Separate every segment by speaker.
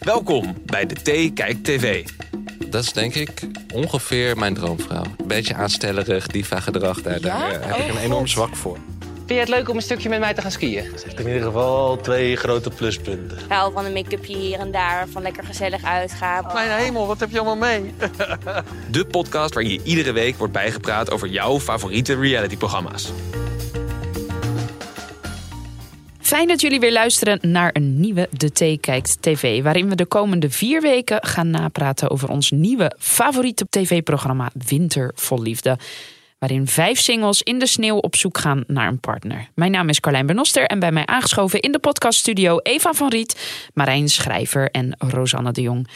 Speaker 1: Welkom bij de T Kijk TV.
Speaker 2: Dat is denk ik ongeveer mijn droomvrouw. Beetje aanstellerig, diva gedrag. Daar, daar eh, heb
Speaker 3: Oh,
Speaker 2: ik een enorm zwak voor.
Speaker 4: Vind je het leuk om een stukje met mij te gaan skiën?
Speaker 5: Ze heeft in ieder geval twee grote pluspunten.
Speaker 6: Ik hou van een make-upje hier en daar, van lekker gezellig uitgaan.
Speaker 4: hemel, wat heb je allemaal mee?
Speaker 1: De podcast waarin je iedere week wordt bijgepraat over jouw favoriete realityprogramma's.
Speaker 3: Fijn dat jullie weer luisteren naar een nieuwe De Thee Kijkt TV. Waarin we de komende vier weken gaan napraten over ons nieuwe favoriete tv-programma Winter Vol Liefde. Waarin vijf singles in de sneeuw op zoek gaan naar een partner. Mijn naam is Carlijn Benoster en bij mij aangeschoven in de podcaststudio Eva van Riet, Marijn Schrijver en Rosanne de Jong.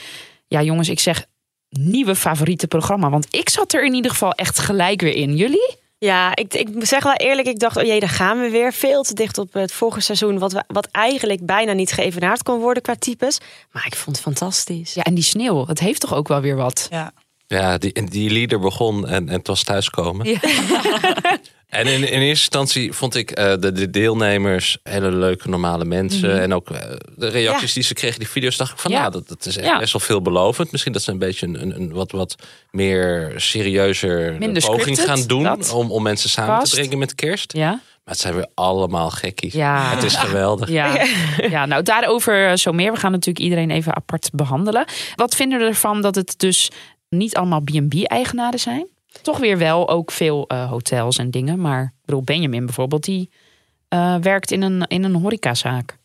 Speaker 3: Ja, jongens, ik zeg nieuwe favoriete programma, want ik zat er in ieder geval echt gelijk weer in. Jullie?
Speaker 7: Ja, ik, ik zeg wel eerlijk, ik dacht, oh jee, daar gaan we weer. Veel te dicht op het vorige seizoen, wat, we- wat eigenlijk bijna niet geëvenaard kon worden qua types. Maar ik vond het fantastisch.
Speaker 3: Ja, en die sneeuw, het heeft toch ook wel weer wat?
Speaker 2: Ja, die, en die leader begon en, en het was thuiskomen. En in, in eerste instantie vond ik eh, de, de deelnemers hele leuke, normale mensen. En ook eh, de reacties die ze kregen, die video's, dacht ik van
Speaker 3: Mhm. Ja.
Speaker 2: nou, dat, dat is echt
Speaker 3: Ja.
Speaker 2: best wel veelbelovend. Misschien dat ze een beetje een, een, een wat, wat meer serieuzer
Speaker 3: Minder
Speaker 2: poging
Speaker 3: scripted,
Speaker 2: gaan doen.
Speaker 3: dat
Speaker 2: Om, om mensen samen
Speaker 3: past.
Speaker 2: te brengen met kerst.
Speaker 3: Ja?
Speaker 2: Maar het zijn weer allemaal gekkies.
Speaker 3: Ja.
Speaker 2: Het is geweldig.
Speaker 3: Ja. ja, nou daarover eh, zo meer. We gaan natuurlijk iedereen even apart behandelen. Wat vinden we ervan dat het dus niet allemaal B&B-eigenaren zijn? Toch weer wel ook veel eh, hotels en dingen. Maar ik bedoel, Benjamin bijvoorbeeld, die eh, werkt in een, in een horecazaak.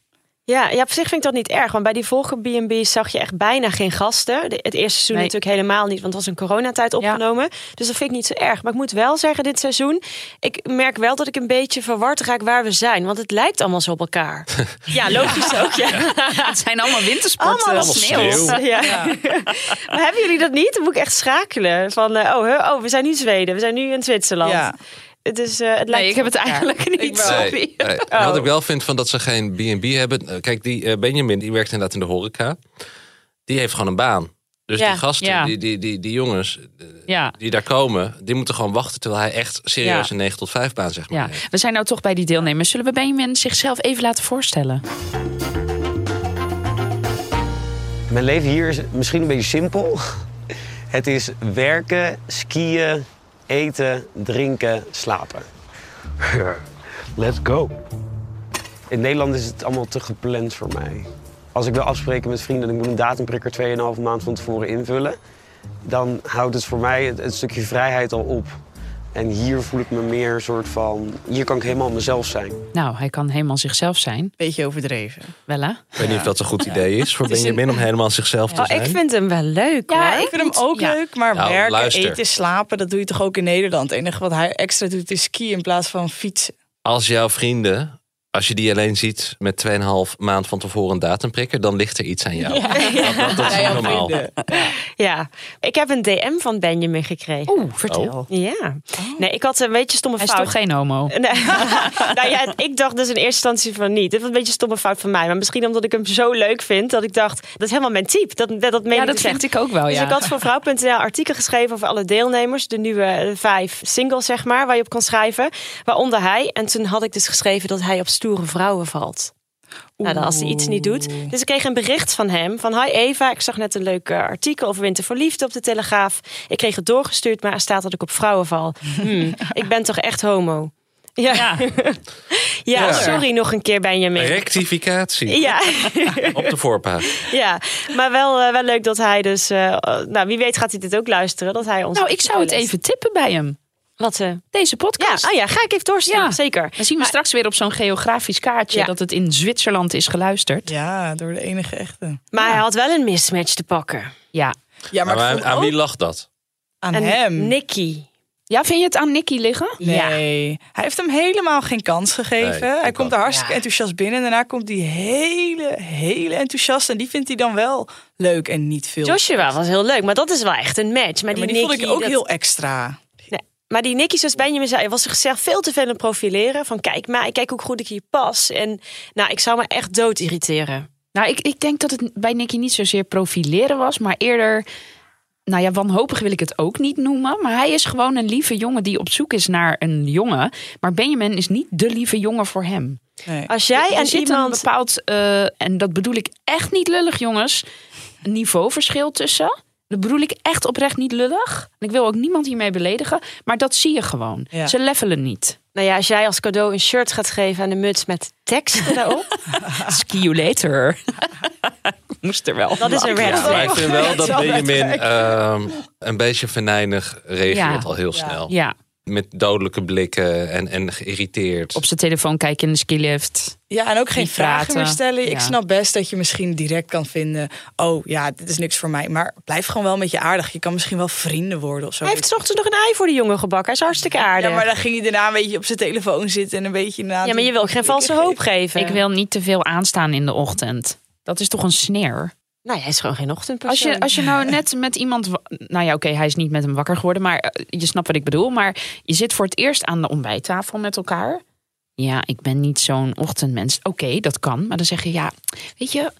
Speaker 7: Ja, ja, op zich vind ik dat niet erg, want bij die vorige B&B's zag je echt bijna geen gasten. De- het eerste seizoen
Speaker 3: Nee.
Speaker 7: natuurlijk helemaal niet, want het was een coronatijd opgenomen. Dus dat vind ik niet zo erg. Maar ik moet wel zeggen, dit seizoen, ik merk wel dat ik een beetje verward raak waar we zijn. Want het lijkt allemaal zo op elkaar. ja, logisch ook, ja.
Speaker 3: Het zijn allemaal wintersporten.
Speaker 7: Allemaal
Speaker 3: op
Speaker 2: sneeuw.
Speaker 7: Ja. maar hebben jullie dat niet? Dan moet ik echt schakelen. Van, eh, oh, huh, oh, we zijn nu in Zweden. We zijn nu in Zwitserland.
Speaker 8: Ja.
Speaker 7: Het is, eh, het lijkt
Speaker 3: Nee, ik heb het eigenlijk niet. Sorry.
Speaker 2: Nee, nee.
Speaker 7: Oh.
Speaker 2: En Wat ik wel vind van dat ze geen B&B hebben. eh, Kijk, die eh, Benjamin, die werkt inderdaad in de horeca. Die heeft gewoon een baan. Dus
Speaker 7: Ja,
Speaker 2: die gasten,
Speaker 3: ja.
Speaker 2: die, die, die, die jongens eh,
Speaker 3: Ja.
Speaker 2: die daar komen, die moeten gewoon wachten terwijl hij echt serieus
Speaker 3: Ja.
Speaker 2: een 9 tot 5 baan zeg maar.
Speaker 3: Ja,
Speaker 2: heeft.
Speaker 3: we zijn nou toch bij die deelnemers. Zullen we Benjamin zichzelf even laten voorstellen?
Speaker 5: Mijn leven hier is misschien een beetje simpel. Het is werken, skiën, eten, drinken, slapen. Let's go. In Nederland is het allemaal te gepland voor mij. Als ik wil afspreken met vrienden en ik moet een datumprikker 2,5 maand van tevoren invullen, dan houdt het voor mij het, het stukje vrijheid al op. En hier voel ik me meer een soort van. Hier kan ik helemaal mezelf zijn.
Speaker 3: Nou, hij kan helemaal zichzelf zijn.
Speaker 8: Beetje overdreven.
Speaker 3: Wella?
Speaker 2: Ik weet niet of dat een goed idee is voor Benjamin om helemaal zichzelf te
Speaker 7: Oh,
Speaker 2: zijn.
Speaker 7: ik vind hem wel leuk.
Speaker 3: Ja,
Speaker 7: hoor.
Speaker 3: ik
Speaker 8: Ik vind hem ook
Speaker 3: Ja.
Speaker 8: leuk, maar
Speaker 2: Nou,
Speaker 8: werken,
Speaker 2: luister.
Speaker 8: eten, slapen, dat doe je toch ook in Nederland. Het enige wat hij extra doet is skiën in plaats van fietsen.
Speaker 2: Als jouw vrienden, als je die alleen ziet met 2,5 maand van tevoren een datumprikker, dan ligt er iets aan jou. Dat, dat- dat is
Speaker 8: Bij
Speaker 2: niet
Speaker 8: jouw
Speaker 2: normaal.
Speaker 8: vrienden.
Speaker 7: Ja. Ik heb een DM van Benjamin gekregen.
Speaker 3: Oeh,
Speaker 2: Oh.
Speaker 3: vertel.
Speaker 8: Oh.
Speaker 7: Ja. Nee, ik had een beetje stomme
Speaker 3: Hij is
Speaker 7: fout.
Speaker 3: toch geen homo?
Speaker 7: Nee. nou ja, ik dacht dus in eerste instantie van niet. Dit was een beetje een stomme fout van mij. Maar misschien omdat ik hem zo leuk vind, dat ik dacht, dat is helemaal mijn type. Dat, dat, dat meen
Speaker 3: Ja,
Speaker 7: ik
Speaker 3: dat
Speaker 7: dus
Speaker 3: vind
Speaker 7: echt.
Speaker 3: ik ook wel,
Speaker 7: Dus
Speaker 3: Oh ja.
Speaker 7: ik had voor vrouw.nl artikel geschreven over alle deelnemers. De nieuwe eh, vijf singles, zeg maar, waar je op kan schrijven. Waaronder hij. En toen had ik dus geschreven dat hij op stoere vrouwen valt. Nou, dan als hij iets niet doet. Dus ik kreeg een bericht van hem. Van, hi Eva, ik zag net een leuk eh, artikel over Winter voor Liefde op de Telegraaf. Ik kreeg het doorgestuurd, maar er staat dat ik op vrouwen val. Hmm, ik ben toch echt homo? Ja. Ja. sorry nog een keer Benjamin.
Speaker 2: Rectificatie
Speaker 7: Ja,
Speaker 2: op de voorpagina.
Speaker 7: ja, maar wel, eh, wel leuk dat hij dus... eh, eh, nou, wie weet gaat hij dit ook luisteren. Dat hij ons
Speaker 3: Nou, ik zou het even tippen bij hem.
Speaker 7: Wat ze...
Speaker 3: Deze
Speaker 7: Ja,
Speaker 3: podcast.
Speaker 7: oh ja, ga ik even doorsturen.
Speaker 3: Ja. Dus-
Speaker 7: Zeker.
Speaker 3: Dan zien we straks weer op zo'n geografisch kaartje
Speaker 7: Ja.
Speaker 3: dat het in Zwitserland is geluisterd.
Speaker 8: Ja, door de enige echte.
Speaker 7: Maar hij had wel een mismatch te pakken.
Speaker 3: Ja,
Speaker 8: Ja,
Speaker 2: Maar
Speaker 8: maar, ik
Speaker 2: Nou, aan,
Speaker 8: vond
Speaker 2: aan
Speaker 8: ook
Speaker 2: wie lag dat?
Speaker 8: aan
Speaker 7: En
Speaker 8: hem.
Speaker 7: Nicky.
Speaker 3: Ja, vind je het aan Nicky liggen?
Speaker 8: Nee, hij heeft hem helemaal geen kans gegeven.
Speaker 2: Nee,
Speaker 8: hij
Speaker 2: ik
Speaker 8: komt
Speaker 2: ook.
Speaker 8: er hartstikke enthousiast binnen. En daarna komt hij hele, hele enthousiast. En die vindt hij dan wel leuk en niet veel.
Speaker 7: Joshua was heel leuk, maar dat is wel echt een match. Maar
Speaker 8: Ja,
Speaker 7: die,
Speaker 8: maar die vond
Speaker 7: Nicky,
Speaker 8: ik ook
Speaker 7: dat-
Speaker 8: heel extra.
Speaker 7: Nee, Maar die Nicky, zoals Benjamin zei, was zichzelf veel te veel aan het profileren. Van kijk mij, kijk hoe goed ik hier pas. En nou, ik zou me echt dood irriteren.
Speaker 3: Nou, ik, ik denk dat het bij Nicky niet zozeer profileren was, maar eerder. Nou ja, wanhopig wil ik het ook niet noemen. Maar hij is gewoon een lieve jongen die op zoek is naar een jongen. Maar Benjamin is niet de lieve jongen voor hem.
Speaker 8: Nee.
Speaker 7: Als jij
Speaker 3: er
Speaker 7: en
Speaker 3: zit een
Speaker 7: iemand...
Speaker 3: bepaald, eh, en dat bedoel ik echt niet lullig, jongens, een niveauverschil tussen. Dat bedoel ik echt oprecht niet lullig. En ik wil ook niemand hiermee beledigen. Maar dat zie je gewoon.
Speaker 8: Ja.
Speaker 3: Ze levelen niet.
Speaker 7: Nou ja, als jij als cadeau een shirt gaat geven aan de muts met teksten daarop.
Speaker 3: Ski you later. Moest er wel.
Speaker 7: dat is een red
Speaker 2: Maar
Speaker 7: flag.
Speaker 2: ik vind wel dat
Speaker 8: Zo
Speaker 2: Benjamin ehm, een beetje venijnig reageert
Speaker 3: Ja.
Speaker 2: al heel snel.
Speaker 3: Ja,
Speaker 2: Met dodelijke blikken en, en geïrriteerd.
Speaker 3: op zijn telefoon kijken in de skilift.
Speaker 8: Ja, en ook geen
Speaker 3: Niet
Speaker 8: vragen
Speaker 3: praten.
Speaker 8: meer stellen.
Speaker 3: Ja.
Speaker 8: Ik snap best dat je misschien direct kan vinden... oh ja, dit is niks voor mij. Maar blijf gewoon wel met je aardig. Je kan misschien wel vrienden worden of zo.
Speaker 7: Hij heeft 's ochtends nog een ei voor de jongen gebakken. Hij is hartstikke aardig.
Speaker 8: ja, maar dan ging hij daarna een beetje op zijn telefoon zitten... en een beetje na...
Speaker 7: je wil ook geen valse hoop geven.
Speaker 3: Ik wil niet te veel aanstaan in de ochtend. Dat is toch een sneer?
Speaker 7: Nou, hij is gewoon geen ochtendpersoon.
Speaker 3: Als je, als je nou net met iemand. wa- Nou ja, oké, hij is niet met hem wakker geworden, maar eh, je snapt wat ik bedoel. Maar je zit voor het eerst aan de ontbijttafel met elkaar. Ja, ik ben niet zo'n ochtendmens. Oké, dat kan. Maar dan zeg je ja, weet je,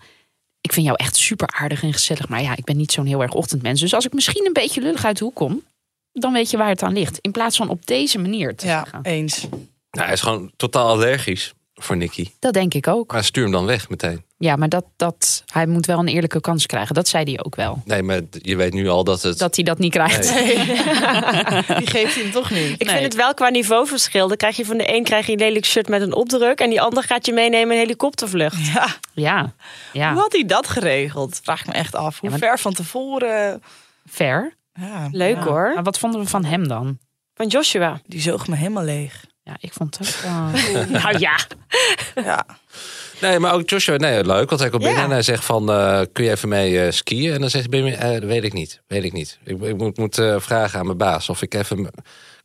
Speaker 3: ik vind jou echt super aardig en gezellig. Maar ja, ik ben niet zo'n heel erg ochtendmens. Dus als ik misschien een beetje lullig uit de hoek kom, dan weet je waar het aan ligt. In plaats van op deze manier te
Speaker 8: Ja,
Speaker 3: zeggen.
Speaker 8: eens.
Speaker 2: Nou, hij is gewoon totaal allergisch voor Nicky.
Speaker 3: Dat denk ik ook.
Speaker 2: Maar stuur hem dan weg meteen.
Speaker 3: Ja, maar dat, dat, hij moet wel een eerlijke kans krijgen. Dat zei hij ook wel.
Speaker 2: Nee, maar je weet nu al dat het...
Speaker 3: Dat hij dat niet krijgt.
Speaker 8: Die geeft hij hem toch niet.
Speaker 7: Ik
Speaker 3: Nee.
Speaker 7: vind het wel qua niveauverschil. Dan krijg je van de een krijg je een lelijk shirt met een opdruk. En die ander gaat je meenemen in een helikoptervlucht.
Speaker 8: Ja,
Speaker 3: Ja, ja.
Speaker 8: Hoe had hij dat geregeld? Vraag ik me echt af. Hoe
Speaker 3: Ja, maar-
Speaker 8: ver van tevoren?
Speaker 3: fair.
Speaker 8: Ja,
Speaker 7: Leuk hoor.
Speaker 3: Maar wat vonden we van hem dan?
Speaker 7: Van Joshua.
Speaker 8: die zoog me helemaal leeg.
Speaker 3: Ja, ik vond het ook wel- nou ja.
Speaker 8: Ja.
Speaker 2: Nee, maar ook Joshua, nee, leuk. Want hij komt
Speaker 8: Ja.
Speaker 2: binnen en hij zegt van, eh, kun je even mee eh, skiën? En dan zegt Benjamin, eh, weet ik niet, weet ik niet. Ik, ik moet, moet eh, vragen aan mijn baas of ik even...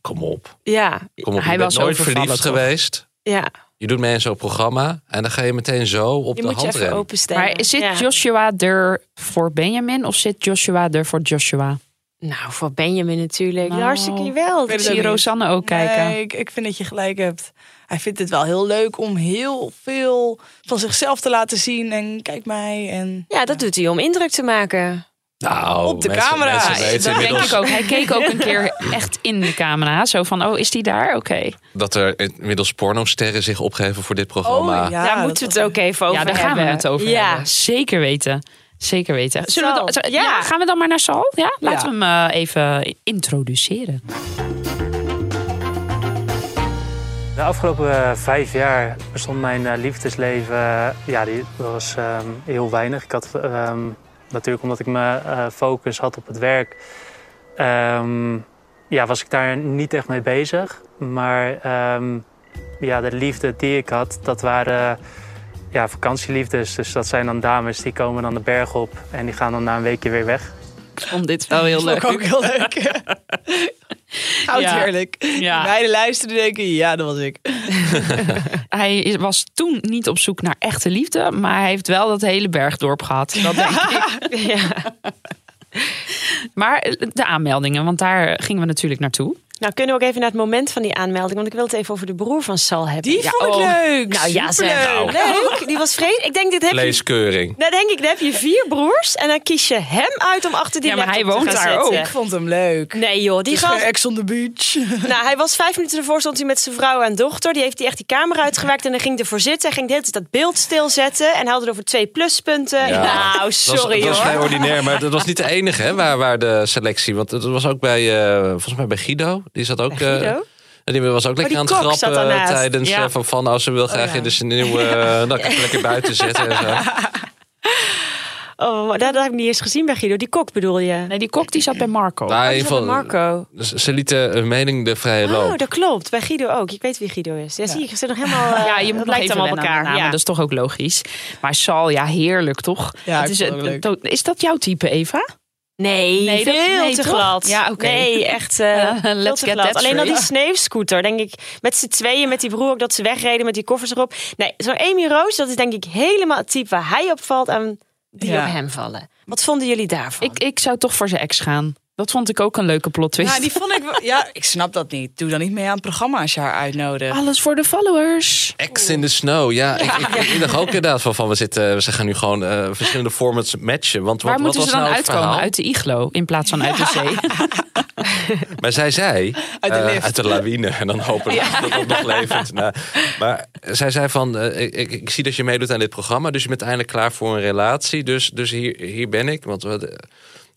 Speaker 2: Kom op,
Speaker 7: Ja,
Speaker 2: kom op.
Speaker 3: Hij
Speaker 2: je bent
Speaker 3: was
Speaker 2: nooit
Speaker 3: overvallen,
Speaker 2: verliefd
Speaker 3: toch?
Speaker 2: geweest.
Speaker 7: ja.
Speaker 2: Je doet mee in zo'n programma en dan ga je meteen zo op
Speaker 7: Je
Speaker 2: de
Speaker 7: moet je
Speaker 2: hand
Speaker 7: even
Speaker 2: rennen.
Speaker 7: openstellen.
Speaker 3: Maar zit
Speaker 7: Ja.
Speaker 3: Joshua er voor Benjamin of zit Joshua er voor Joshua?
Speaker 7: Nou, voor Benjamin natuurlijk.
Speaker 3: Nou.
Speaker 7: Hartstikke wel.
Speaker 8: weet
Speaker 3: Ik
Speaker 8: het
Speaker 3: zie
Speaker 8: ook niet.
Speaker 3: Rosanne ook kijken.
Speaker 8: Nee, ik, ik vind dat je gelijk hebt. Hij vindt het wel heel leuk om heel veel van zichzelf te laten zien. En kijk mij. En...
Speaker 7: Ja, dat doet hij om indruk te maken.
Speaker 2: Nou,
Speaker 8: Op de
Speaker 2: mensen-
Speaker 8: camera.
Speaker 2: mensen
Speaker 8: Ja,
Speaker 2: weten
Speaker 3: Dat denk
Speaker 2: inmiddels
Speaker 3: ik ook. Hij keek ook een keer echt in de camera. Zo van, oh, is die daar? Oké.
Speaker 2: dat er inmiddels pornosterren zich opgeven voor dit
Speaker 3: Oh,
Speaker 2: programma.
Speaker 7: daar moeten we het ook even over
Speaker 3: Ja, daar
Speaker 7: hebben.
Speaker 3: gaan we het over
Speaker 7: ja.
Speaker 3: hebben. Zeker weten. Zeker weten. Zullen we
Speaker 7: Sal,
Speaker 3: dan, zo-
Speaker 7: ja.
Speaker 3: ja. gaan we dan maar naar Sal? Ja? Laten
Speaker 8: Ja.
Speaker 3: we hem eh, even introduceren.
Speaker 9: De afgelopen eh, vijf jaar bestond mijn eh, liefdesleven, eh, ja, die, dat was ehm, heel weinig. Ik had ehm, natuurlijk omdat ik mijn eh, focus had op het werk, ehm, ja, was ik daar niet echt mee bezig. Maar ehm, ja, de liefde die ik had, dat waren ja, vakantieliefdes. Dus dat zijn dan dames die komen dan de berg op en die gaan dan na een weekje weer weg.
Speaker 3: Ik vond dit wel heel
Speaker 8: Vond ik ook heel leuk. Oud
Speaker 3: Ja.
Speaker 8: heerlijk.
Speaker 3: Ja.
Speaker 8: Beide luisteren denken, ja, dat was ik.
Speaker 3: Hij is- was toen niet op zoek naar echte liefde, maar hij heeft wel dat hele bergdorp gehad. Dat denk ik. Maar eh, de aanmeldingen, want daar gingen we natuurlijk naartoe.
Speaker 7: Nou, kunnen we ook even naar het moment van die aanmelding. Want ik wil het even over de broer van Sal hebben.
Speaker 8: Die
Speaker 7: Ja,
Speaker 8: vond ik
Speaker 7: oh.
Speaker 8: leuk.
Speaker 7: Nou ja, zeg.
Speaker 8: Superleuk.
Speaker 7: Leuk. Die was vreemd. Ik denk, dit heb je
Speaker 2: Vleeskeuring.
Speaker 7: Nou, denk ik, dan heb je vier broers en dan kies je hem uit om achter die
Speaker 3: Ja, maar
Speaker 7: laptop
Speaker 3: hij woont
Speaker 7: te gaan
Speaker 3: daar
Speaker 7: zitten.
Speaker 8: Oh. Ik vond hem leuk.
Speaker 7: Nee joh, eh, die
Speaker 8: Die gaat
Speaker 7: gast,
Speaker 8: ex on the beach.
Speaker 7: nou, hij was vijf minuten ervoor, stond hij met zijn vrouw en dochter. Die heeft hij echt die camera uitgewerkt en dan ging hij ervoor zitten. Hij ging de hele tijd dat beeld stilzetten en haalde over twee pluspunten.
Speaker 2: Ja.
Speaker 7: Nou,
Speaker 2: Dat was-
Speaker 7: sorry
Speaker 2: dat was vrij
Speaker 7: hoor.
Speaker 2: ordinair, maar dat was niet de enige hè, waar, waar de selectie. Want het was ook bij, eh, volgens mij bij Guido. Die zat ook. eh,
Speaker 7: Guido?
Speaker 2: die was ook lekker
Speaker 7: die
Speaker 2: aan het
Speaker 7: kok zat
Speaker 2: grappen
Speaker 7: daarnaast. Oh,
Speaker 2: tijdens
Speaker 3: Ja.
Speaker 2: eh, van, van als ze wil graag in de zijn nieuwe. eh, dan kan ik lekker buiten zetten. En zo.
Speaker 7: Oh, maar dat, dat heb ik niet eens gezien bij Guido. Die kok bedoel je?
Speaker 3: Nee, die kok die zat bij Marco.
Speaker 2: Maar in
Speaker 7: die
Speaker 2: ieder
Speaker 7: zat bij
Speaker 2: geval,
Speaker 7: Marco.
Speaker 2: ze ze lieten hun mening de vrije loop.
Speaker 7: Oh, dat klopt. Bij Guido ook. Ik weet wie Guido is. Ja, zie je, ik zit nog helemaal... eh,
Speaker 3: Ja, je moet
Speaker 7: dat
Speaker 3: nog
Speaker 7: lijkt
Speaker 3: even
Speaker 7: allemaal
Speaker 3: wennen aan
Speaker 7: op
Speaker 3: de
Speaker 7: elkaar.
Speaker 3: namen,
Speaker 7: ja.
Speaker 3: Dat is toch ook logisch. Maar Sal, ja, heerlijk toch?
Speaker 8: Ja,
Speaker 3: Het
Speaker 8: ik
Speaker 3: is,
Speaker 8: vond hem
Speaker 3: eh, to- is dat jouw type, Eva?
Speaker 7: Nee,
Speaker 3: Nee,
Speaker 7: veel
Speaker 3: dat- nee,
Speaker 7: te
Speaker 3: toch?
Speaker 7: glad.
Speaker 3: Ja, oké.
Speaker 7: Nee, echt eh
Speaker 3: Ja,
Speaker 7: veel
Speaker 3: let's
Speaker 7: te
Speaker 3: get
Speaker 7: glad.
Speaker 3: that
Speaker 7: Alleen al die
Speaker 3: straight.
Speaker 7: sneeuwscooter, denk ik. Met z'n tweeën, met die broer, ook dat ze wegreden met die koffers erop. Nee, zo'n Amy Roos, dat is denk ik helemaal het type waar hij op valt en die
Speaker 3: Ja.
Speaker 7: op hem vallen. Wat vonden jullie daarvan?
Speaker 3: Ik, ik zou toch voor zijn ex gaan. Dat vond ik ook een leuke plot twist.
Speaker 8: Nou, die vond ik wel- Ja, ik snap dat niet. Doe dan niet mee aan het programma als je haar uitnodigt.
Speaker 3: Alles voor de followers.
Speaker 2: Ex in the snow, ja. Ik, ik, ik dacht ook inderdaad van, van we, zitten, we gaan nu gewoon eh, verschillende formats matchen. Want
Speaker 3: Waar
Speaker 2: wat,
Speaker 3: moeten
Speaker 2: wat
Speaker 3: ze
Speaker 2: was
Speaker 3: dan
Speaker 2: nou het
Speaker 3: uitkomen?
Speaker 2: verhaal?
Speaker 3: Uit de iglo in plaats van uit de zee.
Speaker 2: Maar zij zei,
Speaker 8: Uit de
Speaker 2: eh,
Speaker 8: lift.
Speaker 2: uit de lawine, en dan hopen we dat dat nog levend. Nou, maar zij zei van, eh, ik, ik, ik zie dat je meedoet aan dit programma, dus je bent eindelijk klaar voor een relatie. Dus, dus hier, hier ben ik, want we-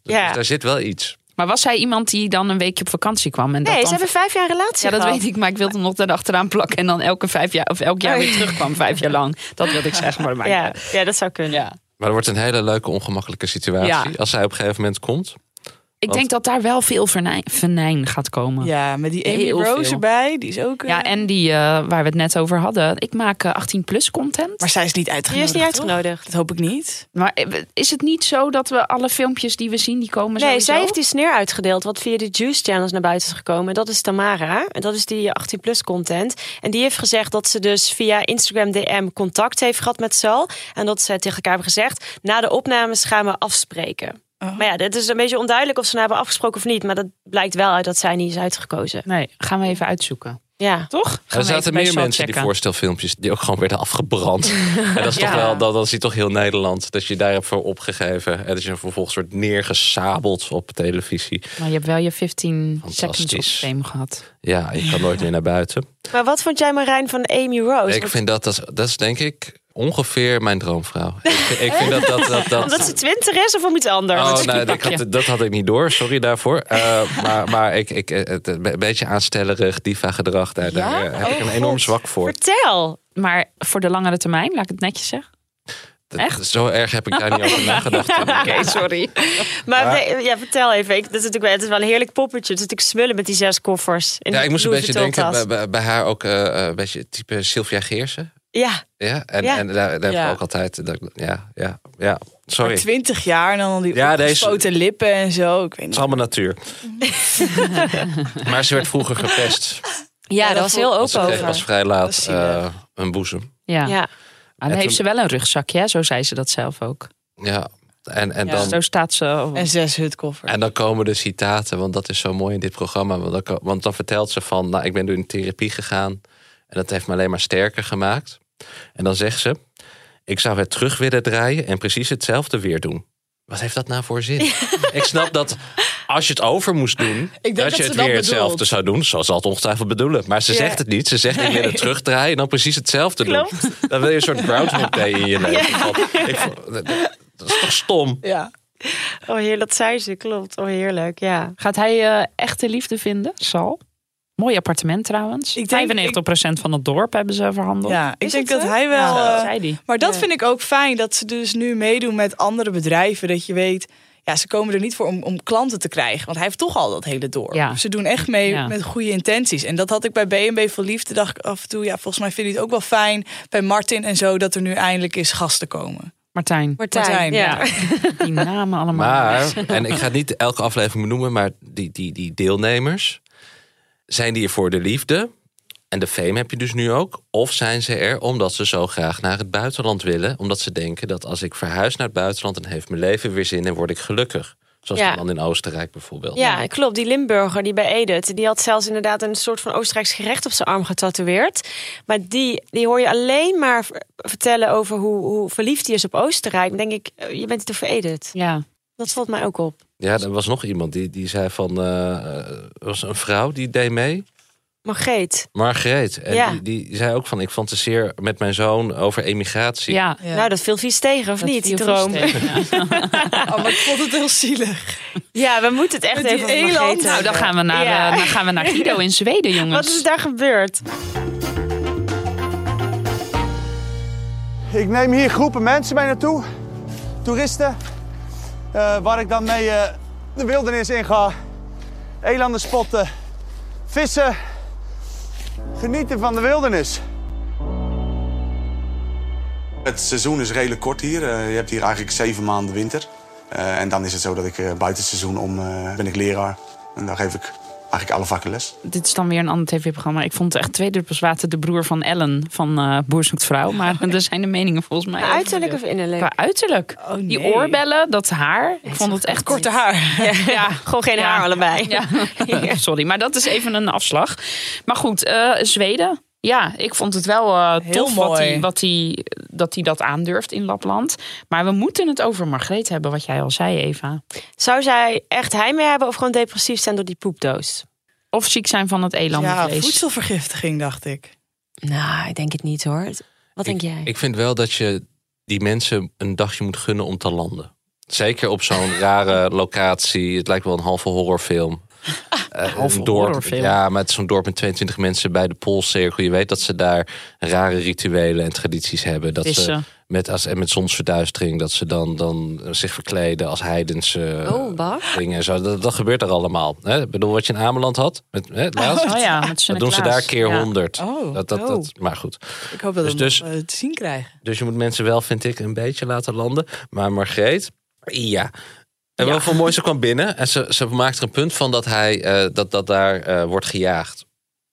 Speaker 2: dus
Speaker 7: Ja.
Speaker 2: daar zit wel iets.
Speaker 3: Maar was zij iemand die dan een weekje op vakantie kwam? En dat dan
Speaker 7: Nee, ze hebben vijf jaar relatie
Speaker 3: Ja, dat
Speaker 7: gehad.
Speaker 3: weet ik, maar ik wilde hem nog daarachteraan plakken. En dan elke vijf jaar, of elk jaar weer terugkwam, vijf jaar lang. Dat wilde ik zeggen, maar dat maakt niet
Speaker 7: Ja,
Speaker 3: uit.
Speaker 7: ja, dat zou kunnen.
Speaker 3: Ja.
Speaker 2: Maar er wordt een hele leuke, ongemakkelijke situatie
Speaker 3: Ja.
Speaker 2: als zij op een gegeven moment komt.
Speaker 3: Ik denk dat daar wel veel venijn, venijn gaat komen. Ja.
Speaker 8: Ja, met die Amy
Speaker 3: Heel
Speaker 8: Rose
Speaker 3: veel.
Speaker 8: erbij. Die is ook... eh,
Speaker 3: en die eh, waar we het net over hadden. Ik maak 18-plus content.
Speaker 8: Maar zij is niet
Speaker 7: Die
Speaker 8: uitgenodigd.
Speaker 7: is niet
Speaker 8: toch?
Speaker 7: uitgenodigd.
Speaker 8: Dat hoop ik niet.
Speaker 3: Maar eh, is het niet zo dat we alle filmpjes die we zien, die komen
Speaker 7: Nee,
Speaker 3: sowieso?
Speaker 7: zij heeft die sneer uitgedeeld wat via de Juice Channels naar buiten is gekomen. Dat is Tamara. En dat is die 18 plus content. En die heeft gezegd dat ze dus via Instagram DM contact heeft gehad met Sal. En dat ze tegen elkaar hebben gezegd, na de opnames gaan we afspreken.
Speaker 8: Oh.
Speaker 7: Maar ja, het is een beetje onduidelijk of ze nou hebben afgesproken of niet. Maar dat blijkt wel uit dat zij niet is uitgekozen.
Speaker 3: Nee, gaan we even uitzoeken.
Speaker 7: Ja,
Speaker 3: Toch? Gaan we
Speaker 2: Er
Speaker 3: even
Speaker 2: zaten
Speaker 3: bij
Speaker 2: meer
Speaker 3: Sal
Speaker 2: mensen die
Speaker 3: checken.
Speaker 2: voorstelfilmpjes die ook gewoon werden afgebrand. en dat is
Speaker 3: Ja.
Speaker 2: toch wel, dat, dat zie toch heel Nederland. Dat je daar hebt voor opgegeven. En dat je vervolgens wordt neergesabeld op televisie.
Speaker 3: Maar je hebt wel je 15 seconds op
Speaker 2: Fantastisch.
Speaker 3: fame gehad.
Speaker 2: Ja, je kan nooit meer naar buiten.
Speaker 7: maar wat vond jij Marijn van Amy
Speaker 3: Oh,
Speaker 7: Rose?
Speaker 2: Ik vind dat, dat, is- dat is denk ik ongeveer mijn droomvrouw. ik, ik vind dat dat... dat, dat
Speaker 7: Omdat ze twintig is of om iets anders?
Speaker 2: Oh,
Speaker 3: het
Speaker 2: nou, dat,
Speaker 3: skiepakje.
Speaker 2: had, dat had ik niet door, sorry daarvoor. Eh, maar maar ik, ik, eh, het- een beetje aanstellerig, diva-gedrag, daar, daar eh, heb
Speaker 3: Oh,
Speaker 2: ik een enorm zwak voor.
Speaker 7: Vertel.
Speaker 3: Maar voor de langere termijn, laat ik het netjes zeggen.
Speaker 2: Dat-
Speaker 3: Echt?
Speaker 2: Zo erg heb ik daar niet over nagedacht.
Speaker 3: sorry.
Speaker 7: Maar we- ja, vertel even. Ik, dat is natuurlijk wel, het is wel een heerlijk poppetje. Het is natuurlijk smullen met die zes koffers. in
Speaker 2: Ja,
Speaker 7: die
Speaker 2: ik moest een
Speaker 7: Louis
Speaker 2: beetje
Speaker 7: Vuitton
Speaker 2: denken
Speaker 7: tas.
Speaker 2: bij, bij, bij haar ook eh, eh, een beetje het type Sylvia Geersen.
Speaker 7: Ja,
Speaker 2: Ja, en,
Speaker 7: Ja.
Speaker 2: en daar, daar heb
Speaker 8: Ja.
Speaker 2: ik ook altijd. eh, dat ik- ja, ja, ja,
Speaker 8: Maar
Speaker 2: sorry. Het
Speaker 8: 20 jaar en dan al die
Speaker 2: Ja,
Speaker 8: ja,
Speaker 2: deze-
Speaker 8: lippen en zo. Ik weet
Speaker 2: is
Speaker 8: niet.
Speaker 2: allemaal natuur. maar ze werd vroeger gepest.
Speaker 7: ja,
Speaker 8: dat
Speaker 7: daar was heel
Speaker 2: want ze
Speaker 7: open
Speaker 2: kreeg
Speaker 7: over.
Speaker 2: pas vrij laat
Speaker 8: Dat is zielig.
Speaker 2: eh, een boezem.
Speaker 3: Ja.
Speaker 7: Ja.
Speaker 2: En
Speaker 3: Maar dan heeft
Speaker 2: toen-
Speaker 3: ze wel een rugzakje, hè? zo zei ze dat zelf ook.
Speaker 2: Ja, en, en
Speaker 8: Ja.
Speaker 2: dan...
Speaker 3: Zo staat ze.
Speaker 8: En zes hutkoffers.
Speaker 2: En dan komen de citaten, want dat is zo mooi in dit programma. Want dan, ko- want dan vertelt ze van, nou, ik ben door in therapie gegaan. En dat heeft me alleen maar sterker gemaakt. En dan zegt ze, ik zou het terug willen draaien en precies hetzelfde weer doen. Wat heeft dat nou voor zin? ik snap dat als je het over moest doen,
Speaker 8: denk
Speaker 2: dat
Speaker 8: dat
Speaker 2: je
Speaker 8: ze
Speaker 2: het
Speaker 8: dat
Speaker 2: weer
Speaker 8: bedoelt.
Speaker 2: hetzelfde zou doen. Zo zal het ongetwijfeld bedoelen. Maar ze zegt het niet. Ze zegt, ik wil het terugdraaien en dan precies hetzelfde doen. Dan wil je een soort Groundhog Day in je leven. Ik vond- dat- dat is toch stom?
Speaker 8: Ja.
Speaker 7: Oh, heerlijk, dat zei ze, klopt. Oh, heerlijk, ja.
Speaker 3: Gaat hij eh, echte liefde vinden? Sal. Mooi appartement trouwens.
Speaker 8: Ik denk-
Speaker 3: 95% van het dorp hebben ze verhandeld.
Speaker 8: ja, ik
Speaker 7: Is
Speaker 8: denk
Speaker 7: het
Speaker 8: dat
Speaker 7: zo?
Speaker 8: hij wel...
Speaker 3: Zo,
Speaker 8: eh,
Speaker 3: zei die.
Speaker 8: maar dat
Speaker 7: Ja.
Speaker 8: vind ik ook fijn, dat ze dus nu meedoen met andere bedrijven. Dat je weet, ja, ze komen er niet voor om, om klanten te krijgen. Want hij heeft toch al dat hele dorp.
Speaker 3: Ja.
Speaker 8: Ze doen echt mee
Speaker 3: Ja.
Speaker 8: met goede intenties. En dat had ik bij BNB voor Liefde, dacht ik af en toe... ja, volgens mij vind ik het ook wel fijn bij Martin en zo... dat er nu eindelijk eens gasten komen.
Speaker 3: Martijn.
Speaker 7: Martijn,
Speaker 8: Martijn,
Speaker 7: ja.
Speaker 3: Die namen allemaal.
Speaker 2: Maar, en ik ga het niet elke aflevering benoemen, maar die, die, die deelnemers, zijn die er voor de liefde? En de fame heb je dus nu ook. Of zijn ze er omdat ze zo graag naar het buitenland willen? Omdat ze denken dat als ik verhuis naar het buitenland, dan heeft mijn leven weer zin en word ik gelukkig. Zoals
Speaker 7: Ja.
Speaker 2: de man in Oostenrijk bijvoorbeeld.
Speaker 7: Ja, klopt. Die Limburger, die bij Edith, die had zelfs inderdaad een soort van Oostenrijks gerecht op zijn arm getatoeëerd. Maar die, die hoor je alleen maar v- vertellen over hoe, hoe verliefd hij is op Oostenrijk. Dan denk ik, eh, je bent het over Edith.
Speaker 3: Ja.
Speaker 7: Dat valt mij ook op.
Speaker 2: ja er was nog iemand die, die zei van, eh, er was een vrouw die deed mee.
Speaker 7: Margreet.
Speaker 2: Margreet. En
Speaker 7: Ja.
Speaker 2: die, die zei ook van, ik fantaseer met mijn zoon over emigratie.
Speaker 3: ja.
Speaker 7: Nou, dat viel vies tegen, of
Speaker 3: Dat
Speaker 7: niet, die
Speaker 3: viel
Speaker 7: droom?
Speaker 3: vies tegen, ja.
Speaker 8: Oh, maar ik vond het heel zielig.
Speaker 7: Ja, we moeten het echt
Speaker 8: Met die
Speaker 7: even over
Speaker 8: eland.
Speaker 3: Nou,
Speaker 7: Margreet
Speaker 3: dan
Speaker 7: hebben.
Speaker 3: gaan we naar,
Speaker 7: Ja.
Speaker 3: eh, dan gaan we naar Guido in Zweden, jongens.
Speaker 7: Wat is daar gebeurd?
Speaker 10: Ik neem hier groepen mensen mee naartoe, toeristen, eh, waar ik dan mee eh, de wildernis in ga. Elanden spotten, vissen, genieten van de wildernis.
Speaker 11: Het seizoen is redelijk kort hier. Eh, je hebt hier eigenlijk zeven maanden winter. Eh, en dan is het zo dat ik eh, buiten het seizoen om eh, ben ik leraar. En dan geef ik eigenlijk alle vakken les.
Speaker 3: Dit is dan weer een ander tv-programma. Ik vond het echt twee druppels water de broer van Ellen van eh Boer zoekt vrouw. Maar daar zijn de meningen volgens mij.
Speaker 7: Maar uiterlijk of innerlijk?
Speaker 3: Qua uiterlijk.
Speaker 8: Oh,
Speaker 3: Die oorbellen, dat haar. Ik vond het echt... Korte haar. Ja,
Speaker 7: gewoon geen haar allebei.
Speaker 3: Ja. Sorry, maar dat is even een afslag. Maar goed, eh, Zweden. Ja, ik vond het wel eh,
Speaker 8: Heel
Speaker 3: tof wat
Speaker 8: mooi.
Speaker 3: hij, wat hij, dat hij dat aandurft in Lapland. Maar we moeten het over Margreet hebben, wat jij al zei, Eva.
Speaker 7: Zou zij echt heimwee hebben of gewoon depressief zijn door die poepdoos?
Speaker 3: Of ziek zijn van het
Speaker 8: Ja,
Speaker 3: elandenvlees.
Speaker 8: voedselvergiftiging dacht ik.
Speaker 7: Nou, ik denk het niet hoor. Wat denk jij?
Speaker 2: Ik vind wel dat je die mensen een dagje moet gunnen om te landen. Zeker op zo'n rare locatie. Het lijkt wel een halve horrorfilm. Eh,
Speaker 3: halve
Speaker 2: een dorp,
Speaker 3: horrorfilm.
Speaker 2: Ja, maar het is zo'n dorp met 22 mensen bij de Poolcirkel. Je weet dat ze daar rare rituelen en tradities hebben. Dat eh, ze
Speaker 3: Vissen.
Speaker 2: met, als, en met zonsverduistering, dat ze dan, dan zich verkleden als heidense eh,
Speaker 7: Oh, Bart.
Speaker 2: dingen. en Zo. Dat, dat gebeurt er allemaal. Hè? Ik bedoel, wat je in Ameland had, met, hè, het laatst,
Speaker 3: Oh ja, met
Speaker 2: dat doen ze
Speaker 3: Sinterklaas.
Speaker 2: daar keer
Speaker 3: Ja.
Speaker 2: 100.
Speaker 8: Oh,
Speaker 2: dat, dat,
Speaker 8: oh.
Speaker 2: dat, maar goed.
Speaker 8: Ik hoop dat
Speaker 2: Dus-
Speaker 8: we
Speaker 2: dus-
Speaker 8: hem, eh, te zien krijgen.
Speaker 2: Dus je moet mensen wel, vind ik, een beetje laten landen. Maar Margreet, ja. En wel veel mooi, ze kwam binnen en ze, ze maakt er een punt van dat, hij, eh, dat, dat daar eh, wordt gejaagd.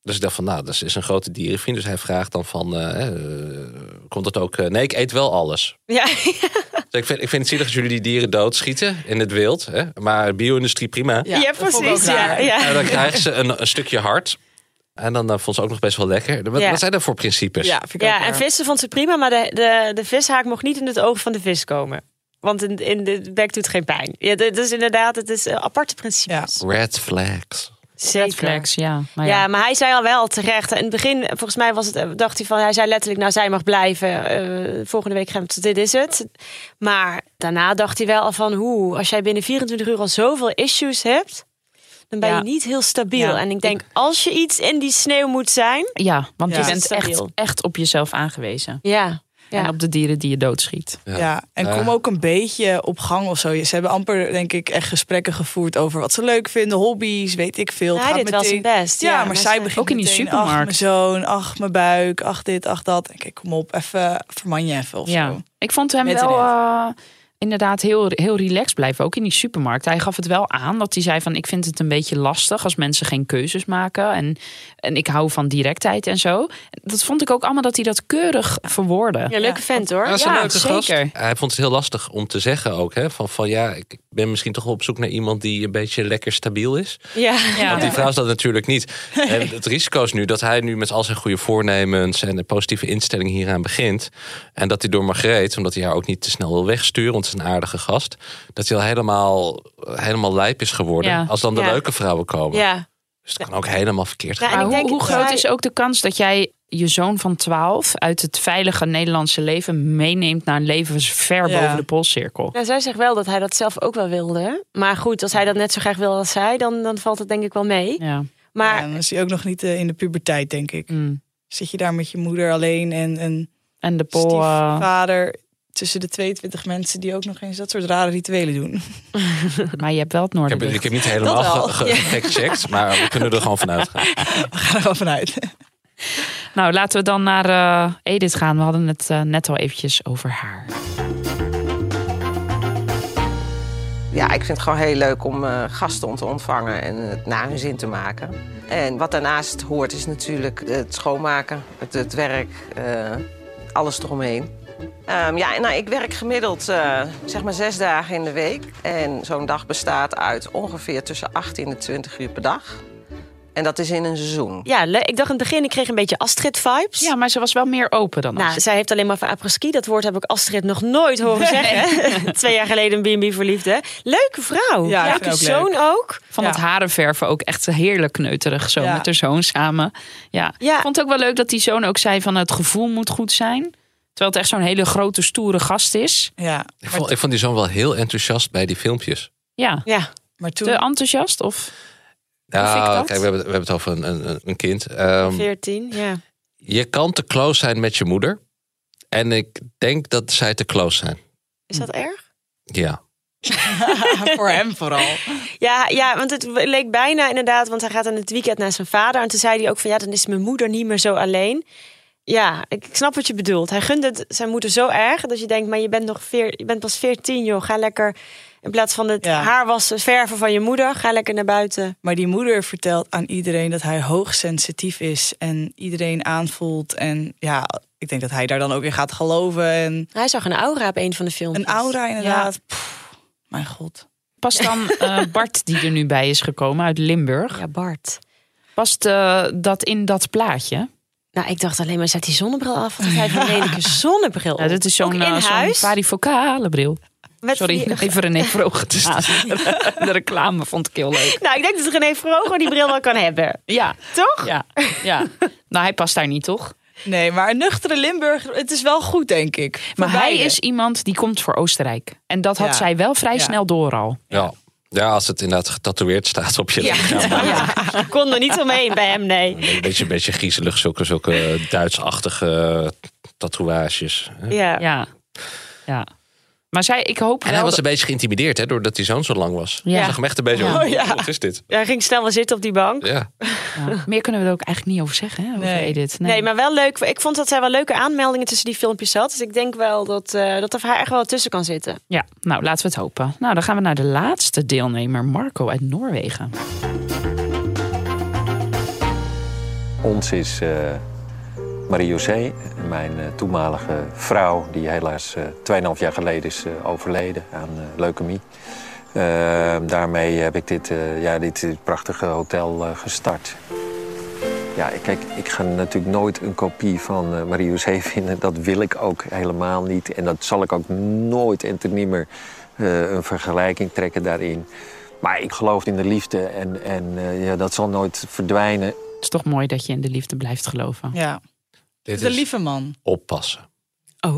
Speaker 2: Dus ik dacht van, nou, dat is een grote dierenvriend. Dus hij vraagt dan van, eh, eh, komt dat ook... eh, nee, ik eet wel alles.
Speaker 7: Ja.
Speaker 2: Dus ik, vind, ik vind het zielig dat jullie die dieren doodschieten in het wild. Hè? Maar bio-industrie, prima.
Speaker 7: Ja, precies.
Speaker 8: ook
Speaker 7: Ja,
Speaker 8: raar.
Speaker 7: ja.
Speaker 2: En dan krijgen ze een, een stukje hart. En dan eh, vond ze ook nog best wel lekker. Wat,
Speaker 7: Ja.
Speaker 2: wat zijn dat voor principes?
Speaker 8: Ja, vind ik ook
Speaker 7: Ja, en
Speaker 8: raar.
Speaker 7: vissen vond ze prima, maar de, de, de vishaak mocht niet in het oog van de vis komen. Want in, in de bek doet geen pijn. Ja, dit is inderdaad, het is eh, aparte principes.
Speaker 2: Red flags.
Speaker 7: Zeker.
Speaker 3: Red flags, ja. Maar ja.
Speaker 7: ja. maar hij zei al wel terecht. In het begin, eh, volgens mij was het, eh, dacht hij van, hij zei letterlijk, nou zij mag blijven. Eh, volgende week gaan we, dit is het. Maar daarna dacht hij wel al van, hoe, als jij binnen 24 uur al zoveel issues hebt, dan ben
Speaker 3: Ja.
Speaker 7: je niet heel stabiel.
Speaker 3: Ja.
Speaker 7: En ik denk, als je iets in die sneeuw moet zijn,
Speaker 3: Ja, want
Speaker 7: Ja.
Speaker 3: je bent echt,
Speaker 7: Stabiel.
Speaker 3: echt op jezelf aangewezen.
Speaker 7: ja.
Speaker 3: En
Speaker 7: ja.
Speaker 3: op de dieren die je doodschiet.
Speaker 8: Ja, en kom ook een beetje op gang of zo. Ze hebben amper, denk ik, echt gesprekken gevoerd over wat ze leuk vinden, hobby's, weet ik veel. Het
Speaker 7: Hij
Speaker 8: gaat
Speaker 7: deed wel
Speaker 8: meteen-
Speaker 7: zijn best,
Speaker 8: Ja,
Speaker 7: ja,
Speaker 8: maar,
Speaker 7: maar
Speaker 8: zij
Speaker 7: ze-
Speaker 8: begint
Speaker 3: Ook in die
Speaker 8: meteen, Ach,
Speaker 3: supermarkt.
Speaker 8: mijn zoon, ach, mijn buik, ach, dit, ach, dat. En kijk, kom op, even verman je even of
Speaker 3: Ja,
Speaker 8: zo.
Speaker 3: ik vond hem
Speaker 8: Met
Speaker 3: wel
Speaker 8: terecht.
Speaker 3: eh, inderdaad heel, heel relaxed blijven. Ook in die supermarkt. Hij gaf het wel aan dat hij zei van... ik vind het een beetje lastig als mensen geen keuzes maken. En, en ik hou van directheid en zo. Dat vond ik ook allemaal dat hij dat keurig verwoordde.
Speaker 7: Ja, leuke vent hoor.
Speaker 2: Ja, dat is een leuke
Speaker 3: zeker.
Speaker 2: gast. Hij vond het heel lastig om te zeggen ook. Hè? Van, van ja, ik ben misschien toch wel op zoek naar iemand die een beetje lekker stabiel is.
Speaker 7: Ja.
Speaker 2: Want
Speaker 3: Ja.
Speaker 2: die vrouw is dat natuurlijk niet. En het risico is nu dat hij nu met al zijn goede voornemens en de positieve instelling hieraan begint. En dat hij door Margreet, omdat hij haar ook niet te snel wil wegsturen, want ze is een aardige gast. Dat hij al helemaal, helemaal lijp is geworden.
Speaker 3: Ja.
Speaker 2: Als dan de
Speaker 7: Ja.
Speaker 2: leuke vrouwen komen.
Speaker 7: Ja.
Speaker 2: Dus het kan ook helemaal verkeerd gaan.
Speaker 7: Ja, en
Speaker 3: Maar
Speaker 7: ik
Speaker 3: hoe,
Speaker 7: denk
Speaker 3: hoe
Speaker 7: dat
Speaker 3: groot
Speaker 7: hij-
Speaker 3: is ook de kans dat jij je zoon van 12 uit het veilige Nederlandse leven meeneemt naar een leven ver
Speaker 8: Ja.
Speaker 3: boven de Poolcirkel?
Speaker 7: Nou, zij zegt wel dat hij dat zelf ook wel wilde. Maar goed, als hij dat net zo graag wil als zij, dan, dan valt het denk ik wel mee.
Speaker 3: Ja.
Speaker 7: Maar
Speaker 8: Ja, en dan is hij ook nog niet eh, in de puberteit, denk ik.
Speaker 3: Mm.
Speaker 8: Zit je daar met je moeder alleen en een
Speaker 3: En de Pool. eh,
Speaker 8: stiefvader tussen de 22 mensen die ook nog eens dat soort rare rituelen doen.
Speaker 3: maar je hebt wel het
Speaker 2: Ik heb,
Speaker 3: noorden.
Speaker 2: ik heb niet helemaal
Speaker 8: wel.
Speaker 2: ge- ge- gefactcheckt, maar we kunnen er gewoon vanuit gaan.
Speaker 8: We gaan er wel vanuit.
Speaker 3: Nou, laten we dan naar eh, Edith gaan. We hadden het eh, net al eventjes over haar.
Speaker 12: Ja, ik vind het gewoon heel leuk om eh, gasten te ontvangen en het naar hun zin te maken. En wat daarnaast hoort is natuurlijk het schoonmaken, het, het werk, eh, alles eromheen. Ehm, ja, en nou, ik werk gemiddeld eh, zeg maar zes dagen in de week. En zo'n dag bestaat uit ongeveer tussen 18 en 20 uur per dag. En dat is in een seizoen.
Speaker 7: ja, le- ik dacht in het begin, ik kreeg een beetje Astrid-vibes.
Speaker 3: Ja, maar ze was wel meer open dan
Speaker 7: Nou,
Speaker 3: Astrid.
Speaker 7: zij heeft alleen maar van apres-ski. Dat woord heb ik Astrid nog nooit horen zeggen. Twee jaar geleden een B&B voor liefde. Leuke vrouw.
Speaker 8: Ja, ik vind
Speaker 7: Leuke
Speaker 8: het ook
Speaker 7: zoon ook.
Speaker 3: Van
Speaker 8: Ja.
Speaker 3: dat harenverven ook echt heerlijk kneuterig zo
Speaker 8: Ja.
Speaker 3: met haar zoon samen. Ja.
Speaker 7: Ja.
Speaker 3: Ik vond het ook wel leuk dat die zoon ook zei van het gevoel moet goed zijn. Terwijl het echt zo'n hele grote stoere gast is.
Speaker 8: Ja,
Speaker 2: Ik vond, ik vond die zoon wel heel enthousiast bij die filmpjes.
Speaker 3: Ja,
Speaker 7: Ja,
Speaker 8: maar toen...
Speaker 3: te enthousiast of... Hoe vind ik
Speaker 2: Nou,
Speaker 3: dat?
Speaker 2: kijk, we hebben, het- we hebben het over een, een, een kind. Ehm,
Speaker 7: 14. Ja.
Speaker 2: je kan te close zijn met je moeder. En ik denk dat zij te close zijn.
Speaker 7: Is dat erg?
Speaker 2: Ja.
Speaker 8: voor hem vooral.
Speaker 7: Ja, ja, want het leek bijna inderdaad, want hij gaat in het weekend naar zijn vader. En toen zei hij ook van, ja, dan is mijn moeder niet meer zo alleen. Ja, ik ik snap wat je bedoelt. Hij gunde het zijn moeder zo erg dat je denkt, maar je bent nog veer, je bent pas 14, joh. Ga lekker In plaats van het haar wassen, verven van je moeder, ga lekker naar buiten.
Speaker 8: Maar die moeder vertelt aan iedereen dat hij hoogsensitief is en iedereen aanvoelt. En ja, ik denk dat hij daar dan ook in gaat geloven. En
Speaker 7: Hij zag een aura op een van de films.
Speaker 8: een aura inderdaad. Pff, mijn god.
Speaker 3: Past dan eh, Bart, die er nu bij is gekomen uit Limburg,
Speaker 7: Ja, Bart.
Speaker 3: past eh, dat in dat plaatje?
Speaker 7: Nou, ik dacht alleen maar, zet die zonnebril af. Want hij heeft een lelijke zonnebril op.
Speaker 3: Ja, dit is
Speaker 7: Ook
Speaker 3: zo'n
Speaker 7: in
Speaker 3: eh, zo'n
Speaker 7: huis.
Speaker 3: parifocale bril.
Speaker 7: Met
Speaker 3: Sorry,
Speaker 7: die-
Speaker 3: even René Vroeg. Het is de, de reclame vond ik heel leuk.
Speaker 7: Nou, ik denk dat René Vroger die bril wel kan hebben.
Speaker 3: Ja,
Speaker 7: Toch?
Speaker 3: ja, ja. Nou, hij past daar niet, toch?
Speaker 8: Nee, maar een nuchtere Limburger, het is wel goed, denk ik. Voor
Speaker 3: Maar hij
Speaker 8: beide.
Speaker 3: is iemand die komt voor Oostenrijk. En dat had
Speaker 8: Ja.
Speaker 3: zij wel vrij
Speaker 8: Ja.
Speaker 3: snel door al.
Speaker 2: Ja. ja, als het inderdaad getatoeëerd staat op je lichaam.
Speaker 7: Ik kon er niet omheen bij hem, nee.
Speaker 2: Een beetje, een beetje griezelig, zulke, zulke Duitsachtige tatoeages. hè.
Speaker 7: Ja.
Speaker 3: Ja. ja. Maar zij, ik hoop
Speaker 2: En
Speaker 3: wel
Speaker 2: hij was
Speaker 3: dat-
Speaker 2: een beetje geïntimideerd hè, doordat die zoon zo lang was.
Speaker 3: Ja.
Speaker 2: Ja. Zag hem echt een beetje,
Speaker 3: Ja.
Speaker 2: oh,
Speaker 7: Oh, ja.
Speaker 2: wat is dit?
Speaker 7: Hij ging snel wel zitten op die bank.
Speaker 2: Ja.
Speaker 3: Ja. Meer kunnen we er ook eigenlijk niet over zeggen, hè, over
Speaker 8: Nee.
Speaker 3: Edith.
Speaker 7: Nee. maar wel leuk. Ik vond dat zij wel leuke aanmeldingen tussen die filmpjes had. Dus ik denk wel dat, eh dat er voor haar echt wel tussen kan zitten.
Speaker 3: Ja, nou laten we het hopen. Nou, dan gaan we naar de laatste deelnemer, Marco uit Noorwegen.
Speaker 13: Ons is eh Marie-José, mijn eh, toenmalige vrouw, die helaas eh 2,5 jaar geleden is eh, overleden aan eh, leukemie. Eh, daarmee heb ik dit, eh, ja, dit eh, prachtige hotel eh, gestart. Ja, ik- kijk, ik ga natuurlijk nooit een kopie van eh, Marie-José vinden. Dat wil ik ook helemaal niet. En dat zal ik ook nooit en ten nimmer eh, een vergelijking trekken daarin. Maar ik geloof in de liefde en, en eh, ja, dat zal nooit verdwijnen.
Speaker 3: Het is toch mooi dat je in de liefde blijft geloven.
Speaker 8: Ja.
Speaker 2: Dit
Speaker 8: de
Speaker 2: is
Speaker 8: lieve man.
Speaker 2: oppassen.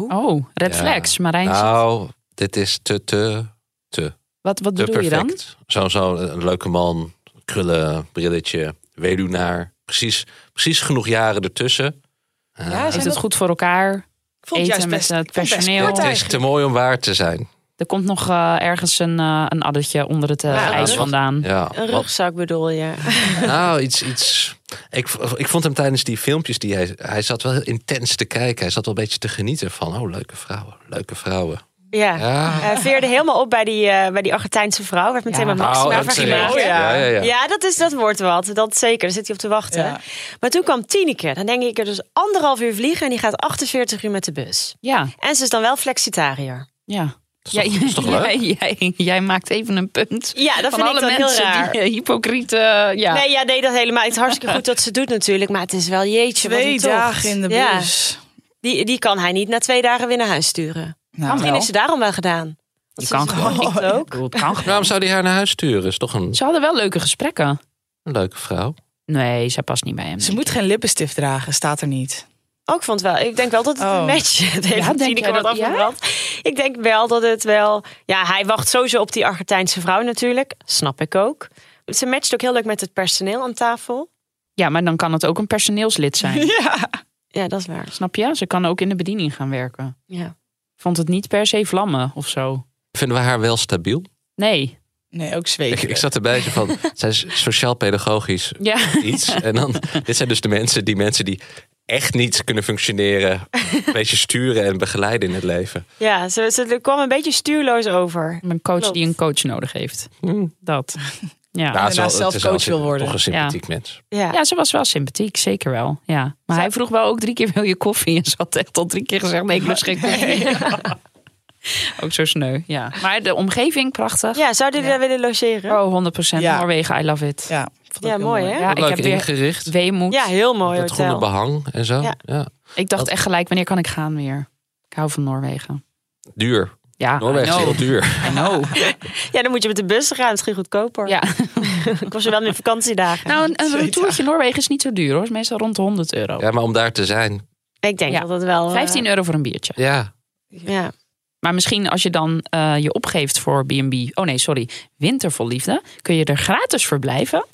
Speaker 3: Oh, red
Speaker 2: Ja.
Speaker 3: flags. Marijn,
Speaker 2: Nou, dit is te, te, te,
Speaker 3: wat, wat
Speaker 2: te
Speaker 3: bedoel je dan?
Speaker 2: perfect. Zo'n zo, een leuke man, krullen, brilletje, weduwnaar. Precies, precies genoeg jaren ertussen. Ah,
Speaker 8: Ja,
Speaker 3: Heeft
Speaker 8: zijn
Speaker 3: het
Speaker 8: dat-
Speaker 3: goed voor elkaar?
Speaker 8: Ik vond het
Speaker 3: Eten
Speaker 8: juist
Speaker 3: met
Speaker 8: best-
Speaker 3: het
Speaker 8: ik vond het best
Speaker 3: personeel.
Speaker 8: kort
Speaker 2: het is
Speaker 8: eigenlijk.
Speaker 2: te mooi om waar te zijn.
Speaker 3: Er komt nog eh, ergens een, eh, een addertje onder het eh,
Speaker 7: Ja,
Speaker 3: ijs
Speaker 2: wat-
Speaker 3: vandaan.
Speaker 2: Ja,
Speaker 7: Een
Speaker 2: wat-
Speaker 7: rugzak bedoel je.
Speaker 2: Nou, iets. iets ik, ik vond hem tijdens die filmpjes die hij. Hij zat wel heel intens te kijken. Hij zat wel een beetje te genieten van. Oh, leuke vrouwen. Leuke vrouwen.
Speaker 7: Ja.
Speaker 2: Ja.
Speaker 7: Eh, veerde helemaal op bij die, eh, bij die Argentijnse vrouw. Werd meteen
Speaker 2: Ja.
Speaker 7: met Maxima
Speaker 2: Oh, dat
Speaker 7: vergeleken.
Speaker 2: terecht. Ja, ja, ja.
Speaker 7: dat, is, dat wordt wat. Dat zeker. Daar zit hij op te wachten.
Speaker 8: Ja.
Speaker 7: Maar toen kwam Tineke. Dan denk ik er dus anderhalf uur vliegen. En die gaat 48 uur met de bus.
Speaker 3: Ja,
Speaker 7: En ze is dan wel flexitariër.
Speaker 3: ja.
Speaker 2: toch-
Speaker 3: Jij-
Speaker 2: dat is toch leuk?
Speaker 3: Jij, jij, jij maakt even een punt.
Speaker 7: Ja, dat
Speaker 3: van
Speaker 7: vind
Speaker 3: alle
Speaker 7: ik dan heel
Speaker 3: mensen
Speaker 7: raar.
Speaker 3: die eh, hypocriet. eh, ja.
Speaker 7: Nee, ja, nee, dat helemaal. Het is hartstikke goed dat ze het doet natuurlijk. Maar het is wel jeetje. wat
Speaker 8: Twee
Speaker 7: een tocht.
Speaker 8: dagen in de
Speaker 7: Ja.
Speaker 8: bus.
Speaker 7: Die, die kan hij niet na twee dagen weer naar huis sturen.
Speaker 8: Nou,
Speaker 7: Misschien
Speaker 3: wel.
Speaker 7: is ze daarom wel gedaan. Dat
Speaker 3: Je
Speaker 7: ze
Speaker 3: kan
Speaker 7: zo-
Speaker 3: gewoon. Oh,
Speaker 7: Ik
Speaker 3: Ik
Speaker 7: ook.
Speaker 3: bedoel, het kan gewoon.
Speaker 2: Waarom zou hij haar naar huis sturen? Is toch een,
Speaker 3: Ze hadden wel leuke gesprekken.
Speaker 2: een leuke vrouw.
Speaker 3: Nee, zij past niet bij hem.
Speaker 8: Ze moet geen lippenstift dragen, staat er niet.
Speaker 7: Ook vond wel. Ik denk wel dat het
Speaker 8: Oh.
Speaker 7: een match het
Speaker 3: Ja,
Speaker 7: heeft.
Speaker 3: denk
Speaker 7: Tineke
Speaker 3: jij
Speaker 7: wat
Speaker 3: dat- ja?
Speaker 7: afgebrand. Ik denk wel dat het wel. Ja, hij wacht sowieso op die Argentijnse vrouw natuurlijk. Snap ik ook. Ze matcht ook heel leuk met het personeel aan tafel.
Speaker 3: Ja, maar dan kan het ook een personeelslid zijn.
Speaker 8: Ja.
Speaker 7: Ja, dat is waar.
Speaker 3: Snap je? Ze kan ook in de bediening gaan werken.
Speaker 7: Ja.
Speaker 3: Vond het niet per se vlammen of zo.
Speaker 2: Vinden we haar wel stabiel?
Speaker 3: Nee.
Speaker 8: Nee, ook
Speaker 2: Ik, eh,
Speaker 8: zweet.
Speaker 2: ik zat erbij zo van. Zij is sociaal-pedagogisch
Speaker 3: Ja.
Speaker 2: iets. En dan. Dit zijn dus de mensen die mensen die echt niet kunnen functioneren. Een beetje sturen en begeleiden in het leven.
Speaker 7: Ja, ze, ze kwam een beetje stuurloos over.
Speaker 3: Een coach
Speaker 7: Klopt.
Speaker 3: die een coach nodig heeft.
Speaker 2: Hm.
Speaker 3: Dat. Ja.
Speaker 2: Nou, het is Nou, wel-
Speaker 8: daarnaast zelf
Speaker 2: het is wel
Speaker 8: coach wil worden.
Speaker 2: Toch een sympathiek mens.
Speaker 7: Ja.
Speaker 3: Ja, ze was wel sympathiek, zeker wel. Ja. Maar hij vroeg wel ook drie keer wil je koffie. En ze had echt al drie keer gezegd nee, ik lust geen koffie. Ook zo sneu, ja. Maar de omgeving, prachtig.
Speaker 7: Ja, zou die daar willen logeren?
Speaker 3: Oh, 100%
Speaker 8: Ja.
Speaker 3: Noorwegen, I love it.
Speaker 8: Ja, vond ik
Speaker 7: Ja,
Speaker 8: heel
Speaker 7: mooi, hè?
Speaker 3: Ja,
Speaker 2: Ook
Speaker 3: ik
Speaker 2: leuk
Speaker 3: heb weer
Speaker 2: ingericht.
Speaker 3: weemoed.
Speaker 7: Ja, heel mooi
Speaker 2: Het groene
Speaker 7: hotel.
Speaker 2: behang en zo.
Speaker 7: Ja.
Speaker 2: ja.
Speaker 3: Ik dacht echt gelijk, wanneer kan ik gaan weer? Ik hou van Noorwegen.
Speaker 2: Duur.
Speaker 3: Ja,
Speaker 2: Noorwegen is
Speaker 3: I
Speaker 2: heel
Speaker 3: know.
Speaker 2: duur.
Speaker 3: I know.
Speaker 7: Ja, dan moet je met de bus gaan. Misschien goedkoper.
Speaker 3: Ja.
Speaker 7: Ik was er wel in de vakantiedagen.
Speaker 3: Nou, een, een retourtje Noorwegen is niet zo duur hoor. Het is meestal rond de 100 euro.
Speaker 2: Ja, maar om daar te zijn.
Speaker 7: ik denk
Speaker 3: Ja.
Speaker 7: dat dat wel... eh,
Speaker 3: 15 euro voor een biertje.
Speaker 2: Ja.
Speaker 7: Ja.
Speaker 3: Maar misschien als je dan eh, je opgeeft voor B&B... Oh nee, sorry. Winter vol liefde. Kun je er gratis voor blijven.